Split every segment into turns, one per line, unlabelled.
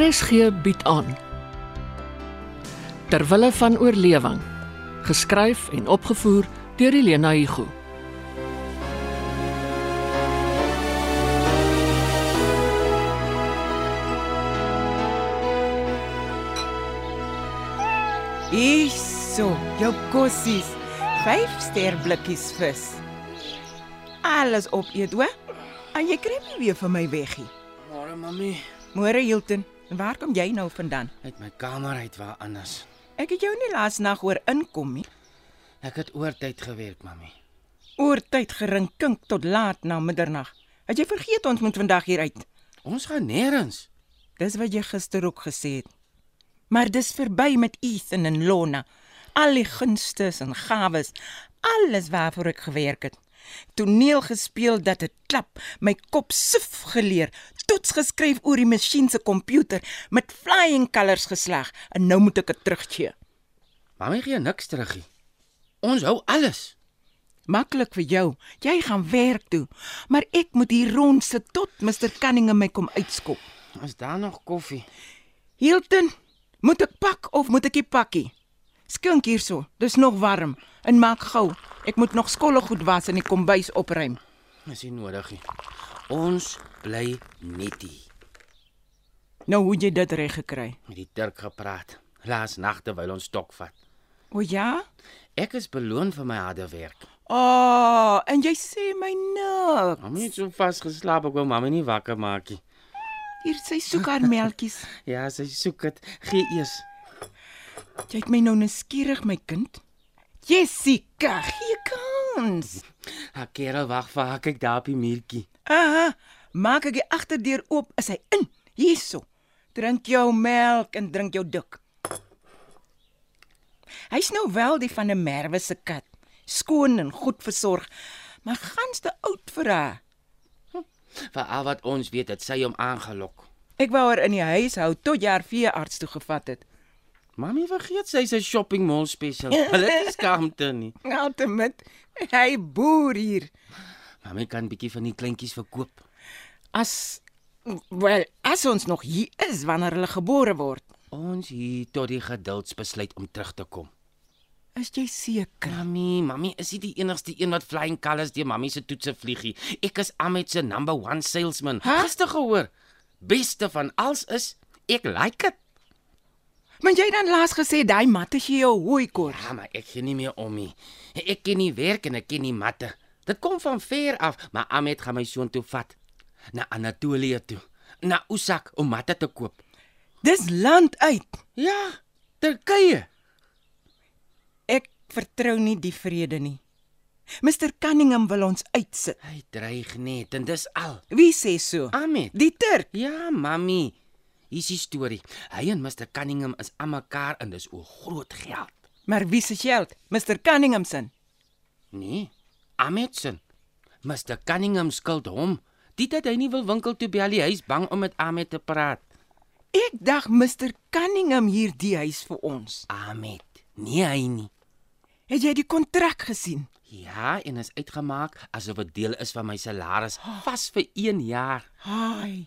RSG bied aan Terwille van oorlewing geskryf en opgevoer deur Elena Igu
Hierso, jou kossies. Vyf ster blikkies vis. Alles opeet, hoor? En jy kry nie weer van my weggie.
Môre mami,
Môre Hilton, waar kom jy nou vandaan?
uit my kamer uit waar anders.
Ek het jou nie laas nag hoor inkom nie.
Ek het oortyd gewerk, mami.
Oortyd gerinkink tot laat na middernag. Het jy vergeet ons moet vandag hier uit?
Ons gaan nêrens.
Dis wat jy gister ook gesê het. Maar dis verby met Ethan en Lona. Al die gunstes en gawes, alles waarvoor ek gewerk het. Toneel gespeel dat dit klap, my kop sif geleer, toets geskryf oor die masjien se komputer met flying colors geslag en nou moet ek dit teruggee.
Mami gee niks terugie. Ons hou alles.
Maklik vir jou. Jy gaan werk toe, maar ek moet hier rond sit tot Mr Cunningham my kom uitskop.
Is daar nog koffie?
Hilton, moet ek pak of moet ek die pakkie? Skink hierso, dis nog warm. En maak gou. Ek moet nog skolle goed was en die kombuis opruim.
Dis nie nodig nie. Ons bly netie.
Nou hoe jy dit reg gekry.
Met die Turk gepraat. Laas nag terwyl ons stok vat.
O ja?
Ek is beloon vir my harde werk.
O, oh, en jy sê my nik.
Mami het so vas geslaap, ek wou mami nie wakker maak nie.
Hier sy soek haar melktjies.
Ja, sy soek dit. Gee eers.
Jy het my nou nuuskierig, my kind. Jessica, gee kans.
Haar kerel wag vir haar kyk daar op die muurtjie.
Aha, maak ek die agterdeur oop, is hy in. Hierso. Drink jou melk en drink jou dik. Hy's nou wel die van 'n merwe se kat, skoon en goed versorg, maar gans te oud vir haar.
Vir al wat ons weet, het sy hom aangelok.
Ek wou haar in die huis hou tot jy haar veearts toe gevat het.
Mami vergeet sy's 'n shopping mall special. Hulle het nie skaamte nie.
Altemit, Nou, hy boer hier.
Mami kan bietjie van die kleintjies verkoop.
As wel, as ons nog hier is wanneer hulle gebore word.
Ons hier tot die geduldsbesluit om terug te kom.
Is jy seker?
Mami, mami is nie die enigste een wat flying colors deur mami se toetse vliegie. Ek is Amet se number 1 salesman.
Huh?
Gister gehoor. Beste van alles is ek like dit.
Maar jy het dan laas gesê daai matte gee jou hooi kort.
Ja, maar ek gee nie meer om nie. Ek ken nie werk en ek ken nie matte. Dit kom van ver af, maar Amet gaan my soontoe vat. Na Anatolië toe, na Osak om matte te koop.
Dis land uit.
Ja, Turkye.
Ek vertrou nie die vrede nie. Mr Cunningham wil ons uitsit.
Hy dreig net en dis al.
Wie sê so?
Ah.
Amet.
Die Turk.
Ja, mami. Hier's die storie. Hy en Mr Cunningham is aan mekaar en dis oor groot geld.
Maar wie se geld? Mr Cunningham se.
Nee, Ametsen. Mr Cunningham skuld hom. Dit dat hy nie wil winkel toe bel, nie. hy's bang om met Amet te praat.
Ek dag Mr Cunningham hier die huis vir ons.
Amet. Nee, hy nie.
Het jy die kontrak gesien?
Ja, en is uitgemaak asof dit deel is van my salaris vas vir 1 jaar.
Haai.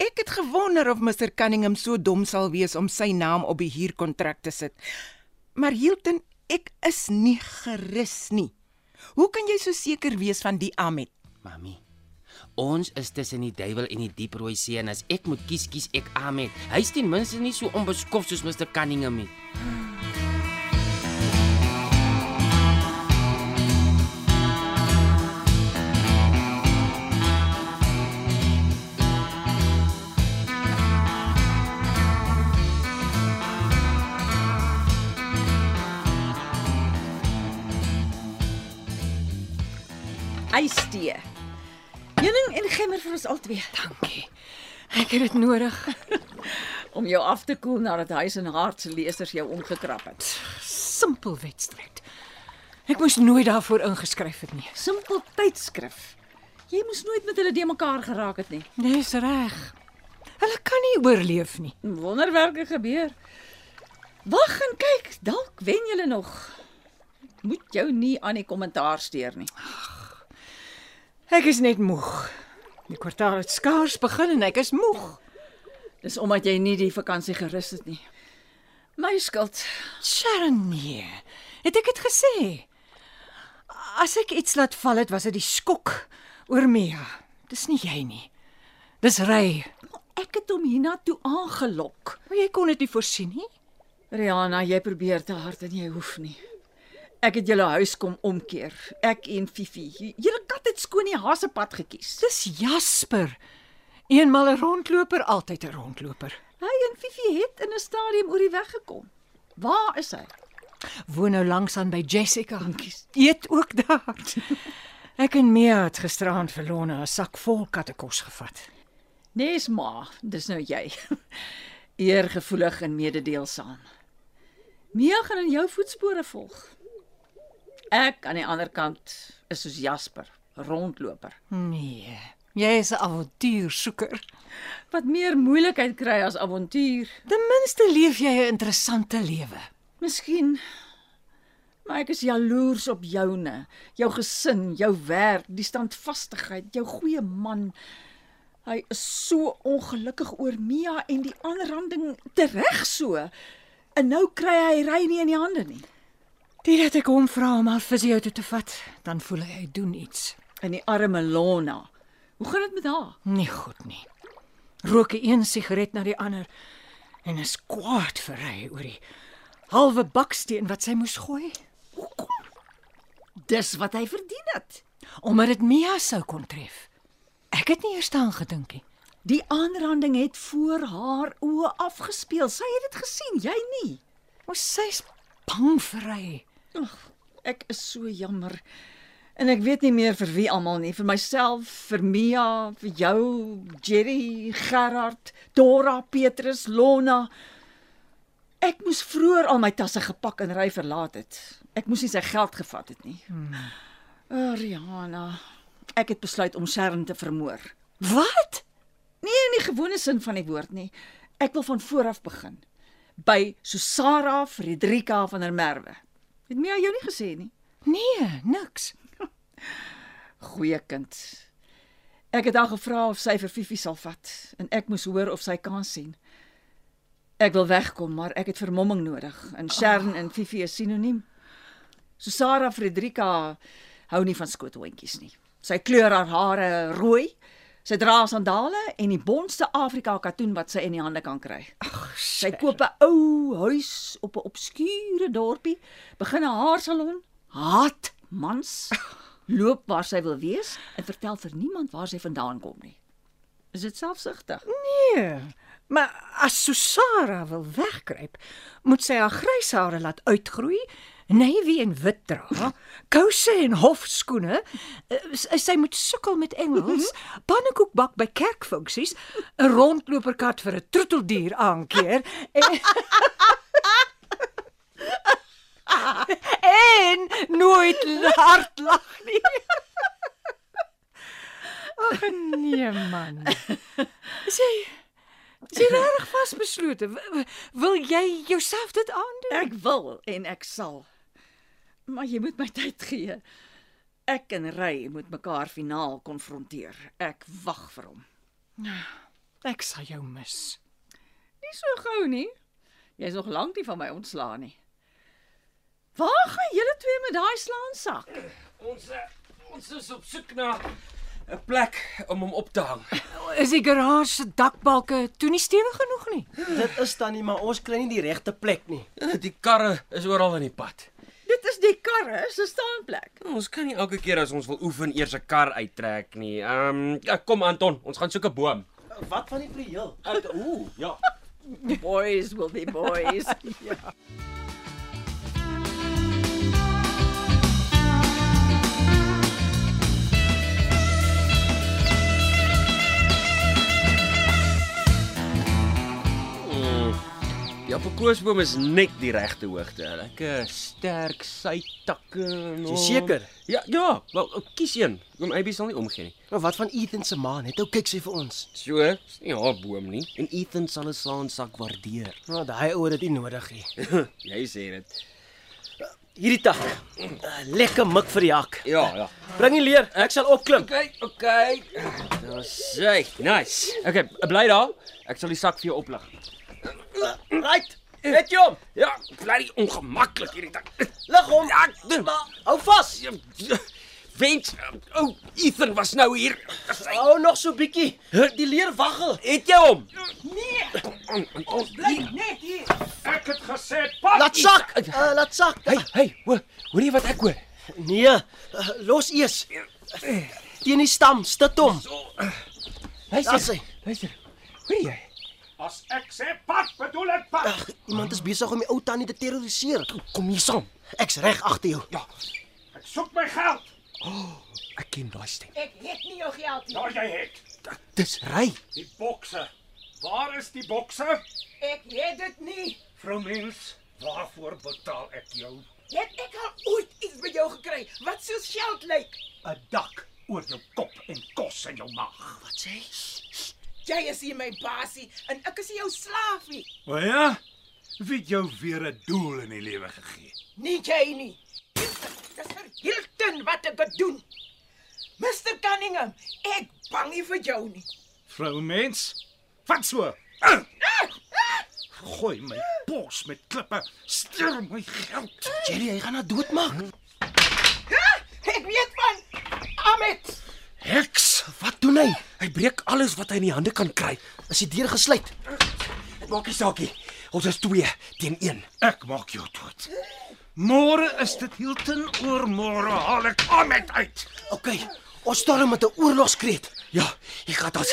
Ek het gewonder of Mr Cunningham so dom sal wees om sy naam op die huurkontrak te sit. Maar Hilton, ek is nie gerus nie. Hoe kan jy so seker wees van die Amet?
Mami. Ons is tussen die duiwel en die diep rooi see en as ek moet kies, kies ek Amet. Hy's ten minste nie so onbeskof soos Mr Cunningham nie.
ystee. Heuning en gemmer vir ons albei
Dankie. Ek het dit nodig.
om jou af te koel nadat huis en hart se lesers jou omgekrap het.
Simpel wedstryd. Ek moes nooit daarvoor ingeskryf het nie.
Simpel tydskrif. Jy moes nooit met hulle de mekaar geraak het nie.
Dis Nee, reg. Hulle kan nie oorleef nie.
Wonderwerke gebeur. Wag en kyk, dalk wen julle nog. Ek Moet jou nie aan die kommentaar steur nie.
Ek is net moeg. Die kwartaal het skaars begin en ek is moeg.
Dis omdat jy nie die vakansie gerus het nie. My skuld.
Sharon nee. Het ek dit gesê? As ek iets laat val het, was dit die skok oor Mia. Dis nie jy nie. Dis Ray.
Ek het hom hiernatoe aangelok.
Maar jy kon dit nie voorsien nie.
Rihanna, jy probeer te hard en jy hoef nie. Ek het julle huis kom omkeer. Ek en Fifi. J- Julle kat het skoon die hasepad gekies.
Dis Jasper. Eenmal 'n rondloper, altyd 'n rondloper.
Hy en Fifi het in 'n stadium oor die weg gekom. Waar is hy?
Woon nou langs aan by Jessica.
Dankies.
Eet ook daar. Ek en Mia het gisteraand vir Lona 'n sak vol kattekos gevat.
Nes ma, dis nou jy. Eergevoelig en mededeelsaam. Mia gaan in jou voetspore volg. Ek aan die ander kant is soos Jasper, rondloper,
Nee, jy is 'n avontuursoeker.
wat meer moeilikheid kry as avontuur.
Ten minste leef jy 'n interessante lewe.
Miskien maar ek is jaloers op joune, jou gesin, jou werk, die standvastigheid, jou goeie man. Hy is so ongelukkig oor Mia en die aanranding tereg so. En nou kry hy ry nie in die hande nie.
Dit het ek hom vra om haar fisio toe te vat, dan voel hy hy doen iets.
En die arme Lona. Hoe gaan dit met haar?
Nie goed nie. Rook hy een sigaret na die ander en is kwaad vir hy oor die halwe baksteen wat sy moes gooi
Dis wat hy verdien het.
omdat dit Mia sou kon tref. Ek het nie eers daaraan gedink nie.
Die aanranding het voor haar oë afgespeel. Sy het dit gesien, jy nie.
Ons sy's bang vir hy.
Ag, ek is so jammer. En ek weet nie meer vir wie almal nie, vir myself, vir Mia, vir jou, Jerry, Gerard, Dora, Petrus, Lona. Ek moes vroeër al my tasse gepak en ry verlaat het. Ek moes nie sy geld gevat het nie. Hmm. Oh, Rihanna, ek het besluit om Sharon te vermoor.
Wat?
Nee, in die gewone sin van die woord nie. Ek wil van voor af begin. By Susara Frederika van der Merwe. Het Mia jou nie gesê nie?
Nee, niks.
Goeie kind. Ek het haar gevra of sy vir Fifi sal vat en ek moes hoor of sy kan sien. Ek wil wegkom, maar ek het vermomming nodig en Sharon oh. en Fifi is sinoniem. Susara Frederika hou nie van skoothoentjies nie. Sy kleur haar hare rooi. Sy dra sandale en die bonste Afrika katoen wat sy in die hande kan kry. Sy koop 'n ou huis op 'n obskure dorpie, begin 'n haarsalon, haat mans, loop waar sy wil wees en vertel vir niemand waar sy vandaan kom nie. Is dit selfsugtig?
Nee. Maar as Susara wil wegkruip, moet sy haar grys hare laat uitgroei, navy en wit dra, kouse en hofskoene. eh, s- Sy moet sukkel met Engels, pannekoek bak by kerkfunksies, 'n rondloperkat vir 'n troeteldier aankeer en en nooit hard lag nie. Ag nee man. Is jy Is jy regtig vasbeslote? W- w- Wil jy jouself dit aandoen?
Ek wil en ek sal. Maar jy moet my tyd gee. Ek en Ry moet mekaar finaal konfronteer. Ek wag vir hom.
Ek sal jou mis.
Nie so gou nie. Jy's nog lank nie van my ontslaan nie. Waar gaan julle twee met daai slaansak?
Ons eh, ons is op soek na 'n plek om hom op te hang.
Is die garage se dakbalke toe nie stewig genoeg nie?
Dit is dan nie, maar ons kry nie die regte plek nie.
Eh, Die karre is oral in die pad.
Dit is die karre se staanplek.
Ons kan nie elke keer as ons wil oefen eers 'n kar uittrek nie. Ehm um, kom Anton, ons gaan soek 'n boom.
Wat van die prieel? Ooh, ja.
Boys will be boys.
Die appelkoosboom Ja, is net die regte hoogte. Lekker sterk sytakke. en
Is jy
al.
seker?
Ja, ja, wel kies een. Kom Abby sal nie omgee nie.
Nou wat van Ethan se ma? Net ou kyk sy vir ons.
So, dis nie haar boom nie. En Ethan sal 'n slaansak waardeer.
Nou daai ouer dit nie nodig nie.
Jy sê dit.
hierdie tak. Eh, Lekker mik vir die hak.
Ja, ja.
Bring die leer, ek sal opklim.
Okay, okay. Dis sy. Nice. Okay, bly daar. Ek sal die sak vir jou oplig.
Right. Net jom.
Ja, bly nie ongemaklik hierdie tak.
Lig hom.
Ja, ek doen.
Maar Hou vas.
Wens, ou oh, Ethan was nou hier. Sy-
Hou nou nog so bietjie. Die leer waggel.
Het jy hom?
Bly Nee. net hier.
Ek het gesê, pak.
Laat sak. Uh, laat sak.
Hey, hey, hoor, hoor jy wat ek hoor? Eh.
Nee, uh, los eers. Teen die stam, stit hom. Daar's hy.
luister. Hoor jy?
As ek sê pak, bedoel ek pak.
Ag, Eh, iemand is besig om die ou tannie te terroriseer.
Kom hier saam.
Ek's reg agter jou.
Ja,
Ek soek my geld.
ek ken daai stem.
Nou jy het
Dis ry.
die bokse. Waar is die bokse? Ek het dit nie. Vrou mens, waarvoor betaal ek jou?
Het ek al ooit iets by jou gekry wat so geld lyk?
'n Dak oor jou kop en kos in jou maag.
Wat sê?
Jy is hier my basie en ek is nie jou slaaf nie.
O ja. Wie het jou weer 'n doel in die lewe gegee?
Nie jy nie. Dis vir Hilton wat ek bedoel. Mr Cunningham, ek bang nie vir jou nie.
Vrou mens, vat so. Gooi my pos met klippe, steel my geld.
Jerry, hy gaan haar doodmaak.
Ek weet van Amit.
Heks, wat doen hy?
Hy breek alles wat hy in die hande kan kry.
Is die deur gesluit?
Dit maak nie saak nie. Ons is 2 teen 1.
Ek maak jou dood. Môre is dit Hilton, oor môre haal ek Ahmed uit.
OK. Ons storm met 'n oorlogskreet.
Ja, hier gaan ons.